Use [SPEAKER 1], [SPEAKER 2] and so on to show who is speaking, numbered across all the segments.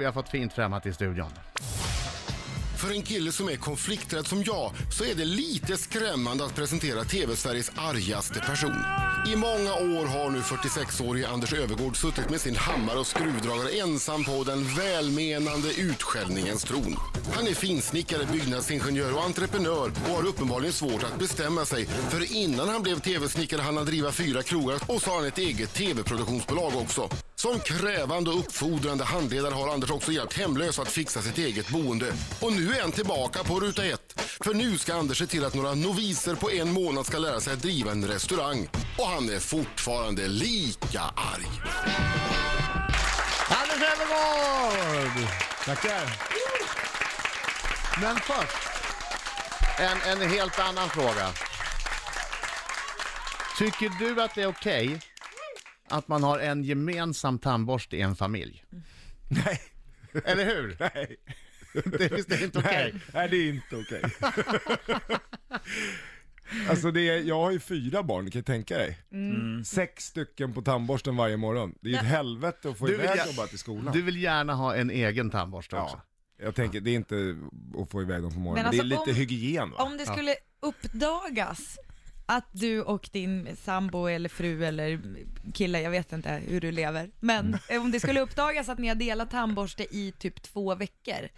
[SPEAKER 1] Vi har fått fint främmat i studion.
[SPEAKER 2] För en kille som är konflikträdd som jag så är det lite skrämmande att presentera TV-Sveriges argaste person. I många år har nu 46-årige Anders Övergård suttit med sin hammare och skruvdragare ensam på den välmenande utskällningens tron. Han är finsnickare, byggnadsingenjör och entreprenör och har uppenbarligen svårt att bestämma sig. För innan han blev TV-snickare hann han driva fyra krogar och så har han ett eget TV-produktionsbolag också. Som krävande och uppfordrande handledare har Anders också hjälpt hemlösa att fixa sitt eget boende. Och nu är han tillbaka på ruta ett. För nu ska Anders se till att några noviser på en månad ska lära sig att driva en restaurang. Och han är fortfarande lika arg.
[SPEAKER 1] Anders Öfvergård! Tackar. Men först, en, en helt annan fråga. Tycker du att det är okej att man har en gemensam tandborste i en familj?
[SPEAKER 3] Nej.
[SPEAKER 1] Eller hur?
[SPEAKER 3] Nej.
[SPEAKER 1] Det, visst är det inte okej?
[SPEAKER 3] Nej, nej, det är inte okej. alltså det är, jag har ju fyra barn, du kan ju tänka dig.
[SPEAKER 4] Mm.
[SPEAKER 3] Sex stycken på tandborsten varje morgon. Det är ju ett helvete att få iväg dem bara till skolan.
[SPEAKER 1] du vill gärna ha en egen tandborste också.
[SPEAKER 3] ja. Jag tänker, det är inte att få iväg dem på morgonen.
[SPEAKER 4] Men
[SPEAKER 3] det är lite
[SPEAKER 4] alltså om-
[SPEAKER 3] hygien va?
[SPEAKER 4] Om det skulle uppdagas att du och din sambo eller fru eller kille, jag vet inte hur du lever, men om det skulle uppdagas att ni har delat tandborste i typ två veckor,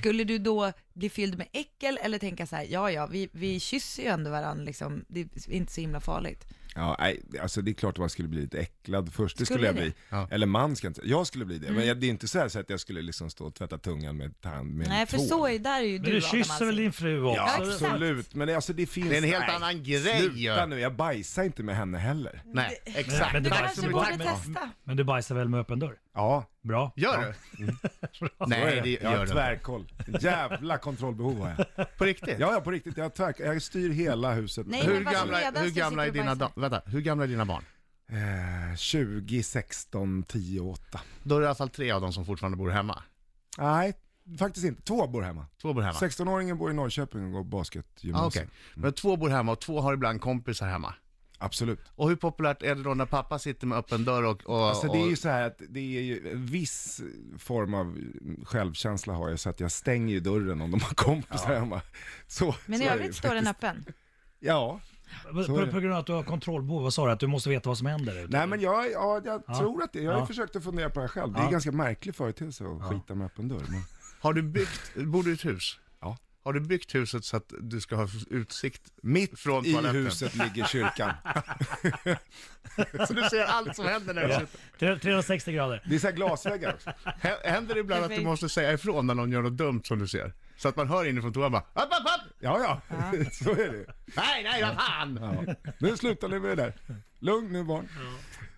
[SPEAKER 4] skulle du då bli fylld med äckel eller tänka så här, ja ja, vi, vi kysser ju ändå varandra liksom, det är inte så himla farligt.
[SPEAKER 3] Ja, nej, alltså det är klart att man skulle bli lite äcklad först, det skulle,
[SPEAKER 4] Skulle
[SPEAKER 3] jag
[SPEAKER 4] det? Mm.
[SPEAKER 3] bli.
[SPEAKER 1] Ja.
[SPEAKER 3] Eller man ska inte, jag skulle bli det. Men jag, det är inte så, här så att jag skulle liksom stå och tvätta tungan med tand, med
[SPEAKER 4] Nej,
[SPEAKER 3] en
[SPEAKER 4] för
[SPEAKER 3] tvål.
[SPEAKER 4] så är, där är ju
[SPEAKER 5] Men
[SPEAKER 4] du
[SPEAKER 5] du
[SPEAKER 4] Adam alltså.
[SPEAKER 5] kysser väl
[SPEAKER 4] Alsing.
[SPEAKER 5] din fru också?
[SPEAKER 3] Ja,
[SPEAKER 4] Ja, exakt.
[SPEAKER 3] absolut. Men det, alltså det finns...
[SPEAKER 1] Det är en helt
[SPEAKER 3] nej,
[SPEAKER 1] annan grej ju.
[SPEAKER 3] Sluta nu, jag bajsar inte med henne heller.
[SPEAKER 1] Nej,
[SPEAKER 5] Nej,
[SPEAKER 1] exakt.
[SPEAKER 5] men
[SPEAKER 4] Du
[SPEAKER 5] Tack
[SPEAKER 4] kanske
[SPEAKER 5] så mycket.
[SPEAKER 4] borde
[SPEAKER 5] Men-
[SPEAKER 4] testa.
[SPEAKER 5] Men du bajsar väl med öppen dörr?
[SPEAKER 3] Ja,
[SPEAKER 5] Bra.
[SPEAKER 1] Gör du? Nej, det
[SPEAKER 3] jag
[SPEAKER 1] gör
[SPEAKER 3] har
[SPEAKER 1] du inte.
[SPEAKER 3] tvärkoll. Jävla kontrollbehov har jag.
[SPEAKER 1] På riktigt?
[SPEAKER 3] Ja, ja på riktigt. Jag, har tvär, jag styr hela huset.
[SPEAKER 4] Nej,
[SPEAKER 1] Hur
[SPEAKER 4] men varför
[SPEAKER 1] gamla,
[SPEAKER 4] redan
[SPEAKER 1] hur,
[SPEAKER 4] så
[SPEAKER 1] gamla är
[SPEAKER 4] sitter du
[SPEAKER 1] dina,
[SPEAKER 4] och
[SPEAKER 1] da- vänta, hur gamla är dina barn?
[SPEAKER 3] Eh, 20, 16, 10 och 8.
[SPEAKER 1] Då är det i alla fall tre av dem som fortfarande bor hemma.
[SPEAKER 3] Nej, faktiskt inte. Två bor hemma.
[SPEAKER 1] Två bor hemma.
[SPEAKER 3] 16-åringen bor i Norrköping och går
[SPEAKER 1] Ah,
[SPEAKER 3] basketgymnasium.
[SPEAKER 1] okej. Men två bor hemma och två har ibland kompisar hemma.
[SPEAKER 3] Absolut.
[SPEAKER 1] Och hur populärt är det då när pappa sitter med öppen dörr och... och,
[SPEAKER 3] Alltså det är ju
[SPEAKER 1] och
[SPEAKER 3] så här att det är ju en viss form av självkänsla har jag så att jag stänger ju dörren om de har kompisar hemma. Så,
[SPEAKER 4] Men
[SPEAKER 3] så
[SPEAKER 4] i
[SPEAKER 3] är det ju
[SPEAKER 4] övrigt står den
[SPEAKER 3] faktiskt.
[SPEAKER 4] öppen.
[SPEAKER 3] Ja.
[SPEAKER 5] På,
[SPEAKER 3] Så är det.
[SPEAKER 5] på, på grund av att du har kontrollbehov, vad sa du? Att du måste veta vad som händer? där ute?
[SPEAKER 1] Mm.
[SPEAKER 3] Nej men jag, ja, jag
[SPEAKER 5] Ja.
[SPEAKER 3] tror att det, jag har
[SPEAKER 5] Ja.
[SPEAKER 3] ju försökt att fundera på det här själv. Det är en ganska märklig företeelse att skita med öppen dörr. Men,
[SPEAKER 1] har du byggt, bor du i ett hus?
[SPEAKER 3] ja.
[SPEAKER 1] Har du byggt huset så att du ska ha utsikt?
[SPEAKER 3] Mitt
[SPEAKER 1] Från
[SPEAKER 3] i
[SPEAKER 1] toaletten.
[SPEAKER 3] huset ligger kyrkan.
[SPEAKER 1] Så du ser allt som händer där du sitter.
[SPEAKER 5] Tre- 360 grader.
[SPEAKER 3] Det är så här glasväggar också.
[SPEAKER 1] Hä- Händer det ibland att du måste säga ifrån när någon gör något dumt som du ser? Så att man hör inifrån toan bara upp, upp, upp!
[SPEAKER 3] Ja, ja, så är det ju.
[SPEAKER 1] Nej, nej, vad fan!
[SPEAKER 3] ja. Nu slutar ni med det där. Lugn nu barn.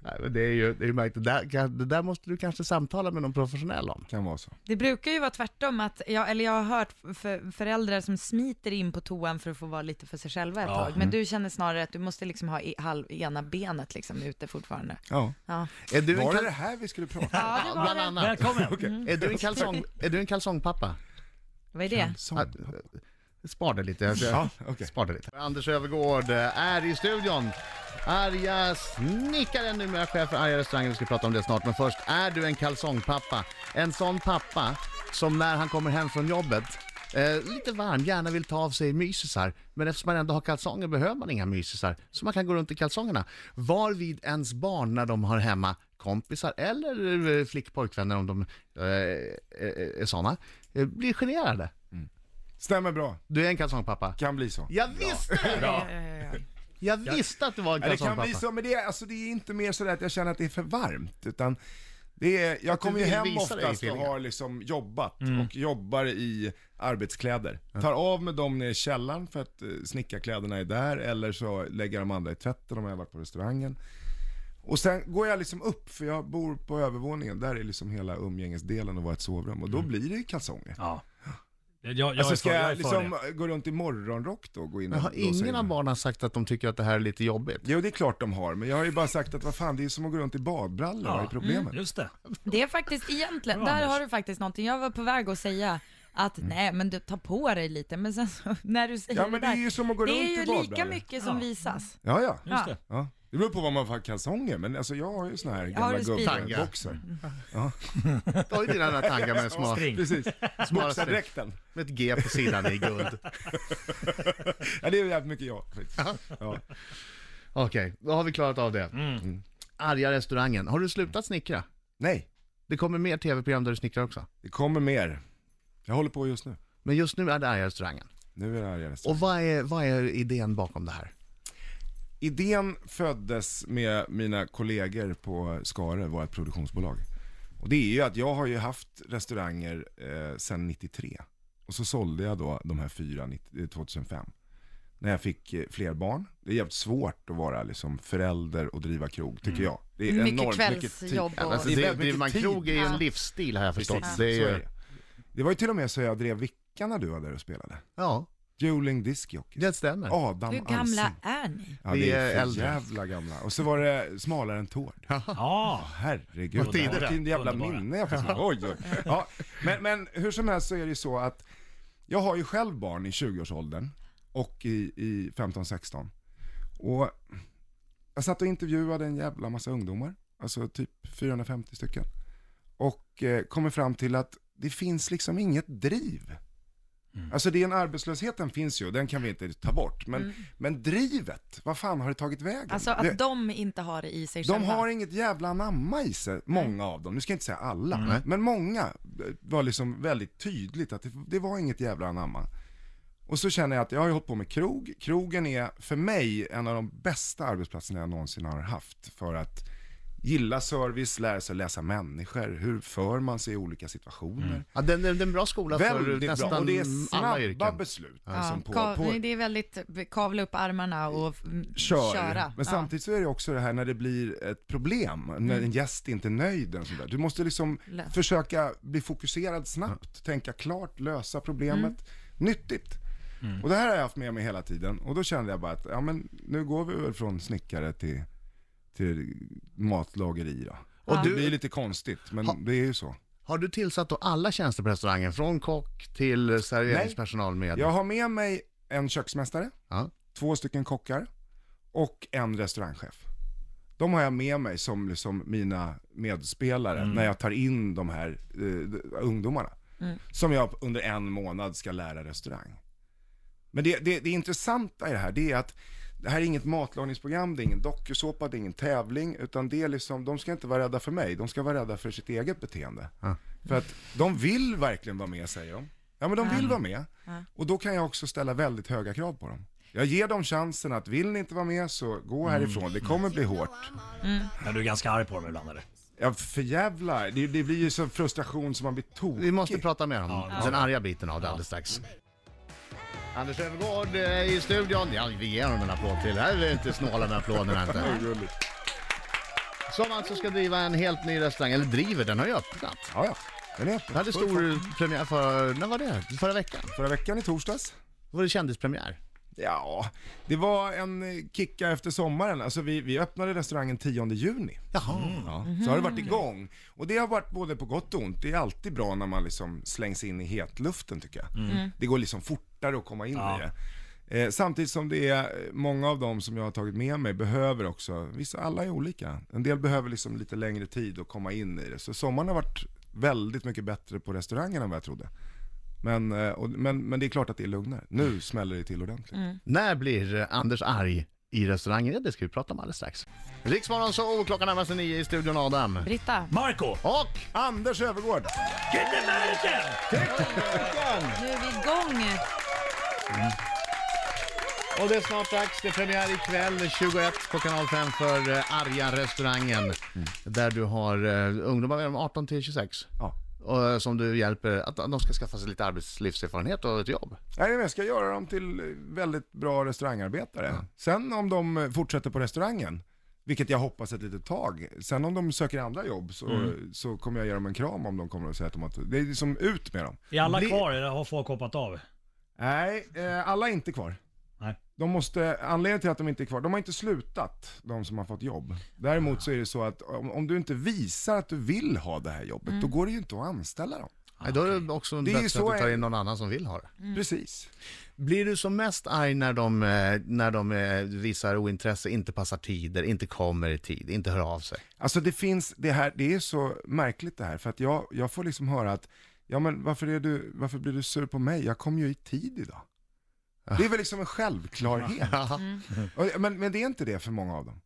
[SPEAKER 1] Nej, men det är ju, det är ju märkt. Det där, kan- det där måste du kanske samtala med någon professionell om.
[SPEAKER 3] Kan vara så.
[SPEAKER 4] Det brukar ju vara tvärtom, att jag, eller jag har hört f- för föräldrar som smiter in på toan för att få vara lite för sig själva ett
[SPEAKER 5] Ja. Mm.
[SPEAKER 4] tag. Men du känner snarare att du måste liksom ha i, halv, ena benet liksom ute fortfarande.
[SPEAKER 3] Ja.
[SPEAKER 4] Ja,
[SPEAKER 1] Är du en
[SPEAKER 3] Var det
[SPEAKER 1] kal-
[SPEAKER 3] det här vi skulle prata om?
[SPEAKER 4] ja det
[SPEAKER 1] Ja,
[SPEAKER 4] var
[SPEAKER 1] bland
[SPEAKER 4] det.
[SPEAKER 1] annat.
[SPEAKER 5] Välkommen!
[SPEAKER 1] Är du en, kalsong, är du en kalsongpappa?
[SPEAKER 4] Vad är det?
[SPEAKER 3] Sång.
[SPEAKER 1] eh, Spar det lite. Jag-
[SPEAKER 3] Ja, okej.
[SPEAKER 1] Spar det lite. Anders Övergård eh, är i studion. Arga snickaren, numera chef för Arga restauranger. Vi ska prata om det snart. Men först, är du en kalsongpappa? En sån pappa som när han kommer hem från jobbet Eh, lite varm, gärna vill ta av sig mysisar, men eftersom man ändå har kalsonger behöver man inga mysisar, så man kan gå runt i kalsongerna. Varvid ens barn när de har hemma kompisar eller eh, flickpojkvänner om de eh, eh, är sådana, eh, blir generade.
[SPEAKER 3] Stämmer bra.
[SPEAKER 1] Du är en kalsongpappa.
[SPEAKER 3] Kan bli så.
[SPEAKER 1] Jag visste det!
[SPEAKER 5] Bra.
[SPEAKER 1] Jag visste att det var en
[SPEAKER 3] Ja, det kan
[SPEAKER 1] kalsongpappa.
[SPEAKER 3] bli så, men det är, alltså, det är inte mer sådär att jag känner att det är för varmt, utan det är, jag kommer ju
[SPEAKER 1] vill
[SPEAKER 3] hem
[SPEAKER 1] visa dig
[SPEAKER 3] oftast och
[SPEAKER 1] feelingen.
[SPEAKER 3] har liksom jobbat
[SPEAKER 5] Mm.
[SPEAKER 3] och jobbar i arbetskläder. Tar av mig dem nere i källaren för att eh, snickarkläderna är där, eller så lägger jag de andra i tvätten om jag har varit på restaurangen. Och sen går jag liksom upp, för jag bor på övervåningen, där är liksom hela umgängesdelen och var ett sovrum, och då blir det ju kalsonger.
[SPEAKER 5] Ja. Jag, Mm. jag,
[SPEAKER 3] Alltså
[SPEAKER 5] är
[SPEAKER 3] ska
[SPEAKER 5] för-
[SPEAKER 3] jag
[SPEAKER 5] är för
[SPEAKER 3] liksom
[SPEAKER 5] det.
[SPEAKER 3] gå runt i morgonrock då och gå in
[SPEAKER 1] Men
[SPEAKER 3] och
[SPEAKER 1] har
[SPEAKER 3] blåsa in
[SPEAKER 1] ingen
[SPEAKER 3] mig?
[SPEAKER 1] av barnen sagt att de tycker att det här är lite jobbigt?
[SPEAKER 3] Jo, det är klart de har, men jag har ju bara sagt att vad fan, det är ju som att gå runt i badbrallor, vad är problemet?
[SPEAKER 5] Just det.
[SPEAKER 4] Det är faktiskt egentligen,
[SPEAKER 5] Bra,
[SPEAKER 4] där
[SPEAKER 5] Anders.
[SPEAKER 4] har du faktiskt någonting. Jag var på väg att säga att
[SPEAKER 5] Mm.
[SPEAKER 4] nej, men du tar på dig lite, men sen så, när du säger
[SPEAKER 3] Ja, men det är ju som att gå
[SPEAKER 4] det
[SPEAKER 3] runt i
[SPEAKER 4] är ju lika
[SPEAKER 3] badbrallor.
[SPEAKER 4] mycket som visas.
[SPEAKER 3] Ja, ja.
[SPEAKER 5] Just
[SPEAKER 4] Ja.
[SPEAKER 5] det.
[SPEAKER 3] ja. Det beror på vad man får ha kalsonger, men alltså jag har ju såna här
[SPEAKER 4] Har
[SPEAKER 3] gamla Mm.
[SPEAKER 4] du speedo?
[SPEAKER 3] gubbar-boxer.
[SPEAKER 1] Ta ju dina där taggar med små...
[SPEAKER 5] String.
[SPEAKER 3] Precis,
[SPEAKER 1] Smala
[SPEAKER 3] boxardräkten.
[SPEAKER 1] Med ett G på sidan i guld.
[SPEAKER 3] Ja, det är jävligt mycket jag. Ja.
[SPEAKER 1] Okej, då har vi klarat av det. Mm. Arga restaurangen. Har du slutat snickra?
[SPEAKER 3] Nej,
[SPEAKER 1] Det kommer mer tv-program där du snickrar också.
[SPEAKER 3] det kommer mer. Jag håller på just nu.
[SPEAKER 1] Men just nu är det Arga restaurangen.
[SPEAKER 3] Nu är det arga nästa.
[SPEAKER 1] Och vad är, vad är idén bakom det här?
[SPEAKER 3] Idén föddes med mina kollegor på Skare, vårt produktionsbolag. Och det är ju att jag har ju haft restauranger eh, sedan 93. Och så sålde jag då de här fyra 90 eh, 2005. När jag fick eh, fler barn. Det är jävligt svårt att vara liksom förälder och driva krog,
[SPEAKER 1] Mm.
[SPEAKER 3] tycker jag. Det är
[SPEAKER 4] Mycket
[SPEAKER 3] enormt tid.
[SPEAKER 4] kvällsjobb och...
[SPEAKER 1] Alltså,
[SPEAKER 3] Det är
[SPEAKER 1] det,
[SPEAKER 3] väldigt
[SPEAKER 1] driver
[SPEAKER 3] mycket
[SPEAKER 1] man
[SPEAKER 3] tid.
[SPEAKER 1] krog är ju en
[SPEAKER 4] Ja.
[SPEAKER 1] livsstil har jag förstått.
[SPEAKER 3] Precis,
[SPEAKER 1] Det är
[SPEAKER 3] så är
[SPEAKER 1] ju...
[SPEAKER 3] det. det var ju till och med så jag drev Vickan när du var där och spelade.
[SPEAKER 1] Ja,
[SPEAKER 3] Juling Discjockey.
[SPEAKER 1] det stämmer.
[SPEAKER 3] Adam
[SPEAKER 4] Hur gamla
[SPEAKER 3] Alsing.
[SPEAKER 4] är ni?
[SPEAKER 3] Ja,
[SPEAKER 1] Vi
[SPEAKER 3] det
[SPEAKER 1] är
[SPEAKER 3] är för
[SPEAKER 1] äldre.
[SPEAKER 3] jävla gamla. Och så var det smalare än tård.
[SPEAKER 5] Ja,
[SPEAKER 3] Herregud,
[SPEAKER 5] Vad tider det.
[SPEAKER 3] vilken jävla
[SPEAKER 5] Underbara.
[SPEAKER 3] minne jag fick. Oj, oj. Ja, men, men hur som helst så är det ju så att jag har ju själv barn i 20-årsåldern och i, i 15-16. Och jag satt och intervjuade en jävla massa ungdomar, alltså typ 450 stycken. Och eh, kommer fram till att det finns liksom inget driv.
[SPEAKER 5] Mm.
[SPEAKER 3] Alltså det är en arbetslösheten finns ju, den kan vi inte ta bort. Men, men drivet, vad fan har det tagit vägen?
[SPEAKER 4] Mm. Alltså
[SPEAKER 3] Det-
[SPEAKER 4] att de inte har det i sig
[SPEAKER 3] de
[SPEAKER 4] själva.
[SPEAKER 3] har inget jävla namma i sig, många av dem. Nu ska jag inte säga alla,
[SPEAKER 1] Mm.
[SPEAKER 3] men många eh, var liksom väldigt tydligt att det, det var inget jävla namma. Och så känner jag att jag har ju hållit på med krog. Krogen är för mig en av de bästa arbetsplatserna jag någonsin har haft för att gilla service, lära sig läsa människor, hur för man sig i olika situationer.
[SPEAKER 1] Ja, det, det, det är en bra skola Mm. för
[SPEAKER 3] Väldigt
[SPEAKER 1] nästan
[SPEAKER 3] bra, och det är
[SPEAKER 1] alla
[SPEAKER 3] snabba
[SPEAKER 1] yrken.
[SPEAKER 3] beslut.
[SPEAKER 4] ja,
[SPEAKER 3] liksom, på-
[SPEAKER 4] ka-
[SPEAKER 3] på-
[SPEAKER 4] nej, Det är väldigt kavla upp armarna och mm,
[SPEAKER 3] kör.
[SPEAKER 4] köra.
[SPEAKER 3] Men samtidigt så är det också det här när det blir ett problem, när en gäst inte är nöjd. Och sådär. Du måste liksom
[SPEAKER 4] Lö-
[SPEAKER 3] försöka bli fokuserad snabbt, tänka klart, lösa problemet. Nyttigt.
[SPEAKER 1] Mm.
[SPEAKER 3] Och det här har jag haft med mig hela tiden och då kände jag bara att ja, men nu går vi väl från snickare till, till matlageri då.
[SPEAKER 1] Och
[SPEAKER 3] Och
[SPEAKER 1] du-
[SPEAKER 3] det blir lite konstigt, men
[SPEAKER 1] Ha-
[SPEAKER 3] det är ju så.
[SPEAKER 1] Har du tillsatt då alla tjänster på restaurangen? Från kock till serveringspersonal med?
[SPEAKER 3] Jag har med mig en köksmästare,
[SPEAKER 1] Ja.
[SPEAKER 3] två stycken kockar och en restaurangchef. De har jag med mig som liksom mina medspelare när jag tar in de här eh, ungdomarna. Som jag under en månad ska lära restaurang. Men det, det, det intressanta i det här, det är att det här är inget matlagningsprogram, det är ingen dokusåpa, det är ingen tävling, utan det är liksom, de ska inte vara rädda för mig, de ska vara rädda för sitt eget beteende. För att de vill verkligen vara med, säger de. Ja, men de vill vara med. Och då kan jag också ställa väldigt höga krav på dem. Jag ger dem chansen att vill ni inte vara med så gå härifrån, det kommer bli hårt.
[SPEAKER 5] men du är ganska arg på dem ibland eller?
[SPEAKER 3] Jag förjävlar, det, det blir ju sån frustration som man blir tokig.
[SPEAKER 1] Vi måste prata mer om den arga biten av det alldeles strax.
[SPEAKER 3] Mm.
[SPEAKER 1] Anders Öfvergård eh, i studion. Ja, vi ger honom en applåd till. Det här är inte snåla med applåderna inte.
[SPEAKER 3] Gulligt.
[SPEAKER 1] Som alltså ska driva en helt ny restaurang, eller driver, den har ju öppnat.
[SPEAKER 3] Ja, ja. Den är öppen.
[SPEAKER 1] Den hade stor premiär för, när var det? Förra veckan?
[SPEAKER 3] Förra veckan i torsdags.
[SPEAKER 1] Var det kändispremiär?
[SPEAKER 3] Ja, det var en eh, kicka efter sommaren. Alltså vi, vi öppnade restaurangen 10 juni. Mm.
[SPEAKER 1] Jaha.
[SPEAKER 3] Ja, så har det varit igång. Och det har varit både på gott och ont. Det är alltid bra när man liksom slängs in i hetluften tycker jag. Det går liksom fortare att komma in
[SPEAKER 5] Ja.
[SPEAKER 3] i det. Eh, samtidigt som det är eh, många av dem som jag har tagit med mig behöver också, vissa, alla är olika. En del behöver liksom lite längre tid att komma in i det. Så sommaren har varit väldigt mycket bättre på restaurangen än vad jag trodde. Men, eh, och, men, men det är klart att det är lugnare. Nu smäller det till ordentligt.
[SPEAKER 1] När blir eh, Anders arg i restaurangen? Ja, det ska vi prata om alldeles strax. Riksmorgon så klockan närmar sig nio i studion Adam.
[SPEAKER 4] Britta,
[SPEAKER 5] Marco!
[SPEAKER 1] Och
[SPEAKER 3] Anders Övergård!
[SPEAKER 5] Kindermärken!
[SPEAKER 4] nu är vi igång.
[SPEAKER 1] Och det är snart dags, det är premiär ikväll 21 på kanal 5 för eh, Arga restaurangen. Där du har eh, ungdomar mellan 18 till 26.
[SPEAKER 3] Ja.
[SPEAKER 1] Och, eh, som du hjälper, att att de ska skaffa sig lite arbetslivserfarenhet och ett jobb.
[SPEAKER 3] Nej, men jag ska göra dem till eh, väldigt bra restaurangarbetare. Sen om de eh, fortsätter på restaurangen, vilket jag hoppas ett litet tag. Sen om de söker andra jobb så, så kommer jag ge dem en kram om de kommer och säger att de har... Det är liksom ut med dem.
[SPEAKER 5] Är alla
[SPEAKER 3] Bli-
[SPEAKER 5] kvar eller har folk hoppat av?
[SPEAKER 3] Nej, eh, alla är inte kvar.
[SPEAKER 5] Nej.
[SPEAKER 3] De måste, anledningen till att de inte är kvar, de har inte slutat, de som har fått jobb. Däremot så är det så att om, om du inte visar att du vill ha det här jobbet, då går det ju inte att anställa dem.
[SPEAKER 1] Nej, då är Ah, det också
[SPEAKER 3] Det är ju
[SPEAKER 1] bättre att
[SPEAKER 3] så
[SPEAKER 1] du tar
[SPEAKER 3] är-
[SPEAKER 1] in någon annan som vill ha det.
[SPEAKER 3] Precis.
[SPEAKER 1] Blir du som mest arg när de, eh, när de eh, visar ointresse, inte passar tider, inte kommer i tid, inte hör av sig?
[SPEAKER 3] Alltså det finns, det här, det är så märkligt det här, för att jag, jag får liksom höra att, ja men varför, är du, varför blir du sur på mig? Jag kom ju i tid idag. Det är väl liksom en självklarhet.
[SPEAKER 6] Mm.
[SPEAKER 3] Och- Men, men det är inte det för många av dem.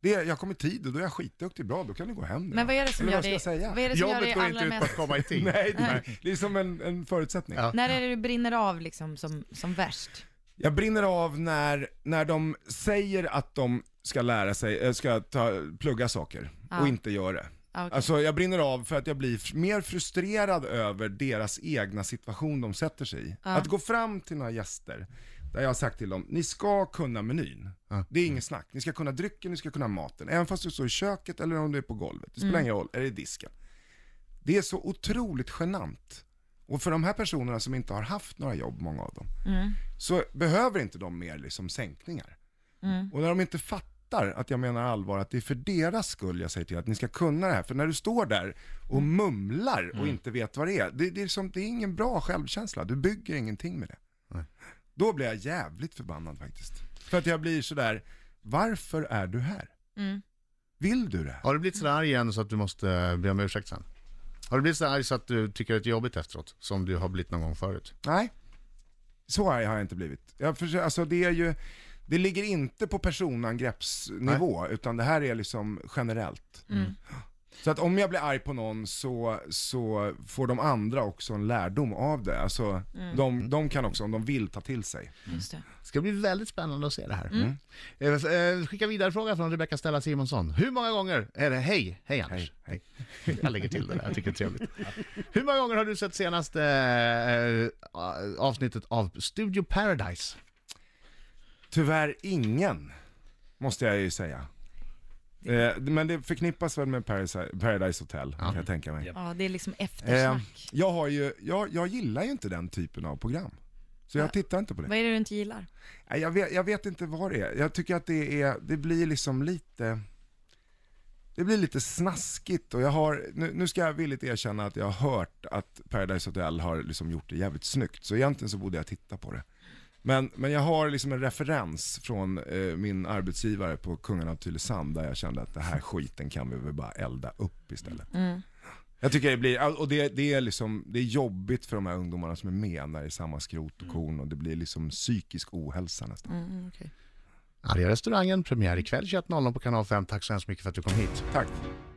[SPEAKER 3] Det är, jag kom i tid och då är jag skitduktig, bra, då kan du gå hem nu.
[SPEAKER 6] Men vad är det som
[SPEAKER 3] Eller
[SPEAKER 6] gör
[SPEAKER 3] vad ska
[SPEAKER 6] dig,
[SPEAKER 3] jag säga?
[SPEAKER 6] vad är det som gör dig allra mest...
[SPEAKER 1] komma i tid.
[SPEAKER 3] Nej, det är, det är som en, en förutsättning.
[SPEAKER 1] Ja.
[SPEAKER 4] När är det du brinner av liksom som, som värst?
[SPEAKER 3] Jag brinner av när, när de säger att de ska lära sig, eh, ska ta, plugga saker
[SPEAKER 4] Ja.
[SPEAKER 3] och inte gör det.
[SPEAKER 4] Ah, okej.
[SPEAKER 3] Alltså jag brinner av för att jag blir f- mer frustrerad över deras egna situation de sätter sig i. Att gå fram till några gäster, där jag har sagt till dem, ni ska kunna menyn. Det är inget snack. Ni ska kunna drycken, ni ska kunna maten. Även fast du står i köket eller om du är på golvet. Det spelar
[SPEAKER 4] Mm.
[SPEAKER 3] ingen roll, är det i disken. Det är så otroligt genant. Och för de här personerna som inte har haft några jobb, många av dem, så behöver inte de mer liksom sänkningar. Och när de inte fattar att jag menar allvar, att det är för deras skull jag säger till att ni ska kunna det här. För när du står där och mumlar och inte vet vad det är, det, det, är som, det är ingen bra självkänsla. Du bygger ingenting med det. Då blir jag jävligt förbannad faktiskt. För att jag blir sådär, varför är du här? Vill du det här?
[SPEAKER 1] Har du blivit så arg igen så att du måste eh, be om ursäkt sen? Har du blivit så arg så att du tycker att det är jobbigt efteråt, som du har blivit någon gång förut?
[SPEAKER 3] Nej, så arg har jag inte blivit. Jag försöker, alltså det är ju, det ligger inte på personangreppsnivå, utan det här är liksom generellt. Så att om jag blir arg på någon så, så får de andra också en lärdom av det. Alltså, de, de kan också, om de vill, ta till sig.
[SPEAKER 4] Just det.
[SPEAKER 1] Det ska bli väldigt spännande att se det här. Mm. Eh, eh, Skicka vidare fråga från Rebecca Stella Simonsson. Hur många gånger är det hej, hej Anders? Hej, hej. Jag lägger till det där, jag tycker det är trevligt. Hur många gånger har du sett senaste eh, eh, avsnittet av Studio Paradise?
[SPEAKER 3] Tyvärr ingen, måste jag ju säga. Eh, men det förknippas väl med Paradise, Paradise Hotel, kan jag tänka mig.
[SPEAKER 5] Japp.
[SPEAKER 4] Ja, det är liksom
[SPEAKER 3] Eh,
[SPEAKER 4] eftersnack.
[SPEAKER 3] jag, har ju, jag, jag gillar ju inte den typen av program. Så jag tittar inte på det.
[SPEAKER 4] Vad är det du inte gillar?
[SPEAKER 3] Nej, Jag vet, jag vet inte vad det är. Jag tycker att det är, det blir liksom lite, det blir lite snaskigt och jag har, nu, nu ska jag villigt erkänna att jag har hört att Paradise Hotel har liksom gjort det jävligt snyggt. Så egentligen så borde jag titta på det. Men, men jag har liksom en referens från eh, min arbetsgivare på Kungen av Tylösand där jag kände att det här skiten kan vi väl bara elda upp istället. Jag tycker det blir, och det, det är liksom, det är jobbigt för de här ungdomarna som är med när det är samma skrot och korn och det blir liksom psykisk ohälsa nästan.
[SPEAKER 1] Arga restaurangen, premiär ikväll 21.00 på kanal 5. Tack så hemskt mycket för att du kom hit.
[SPEAKER 3] Tack.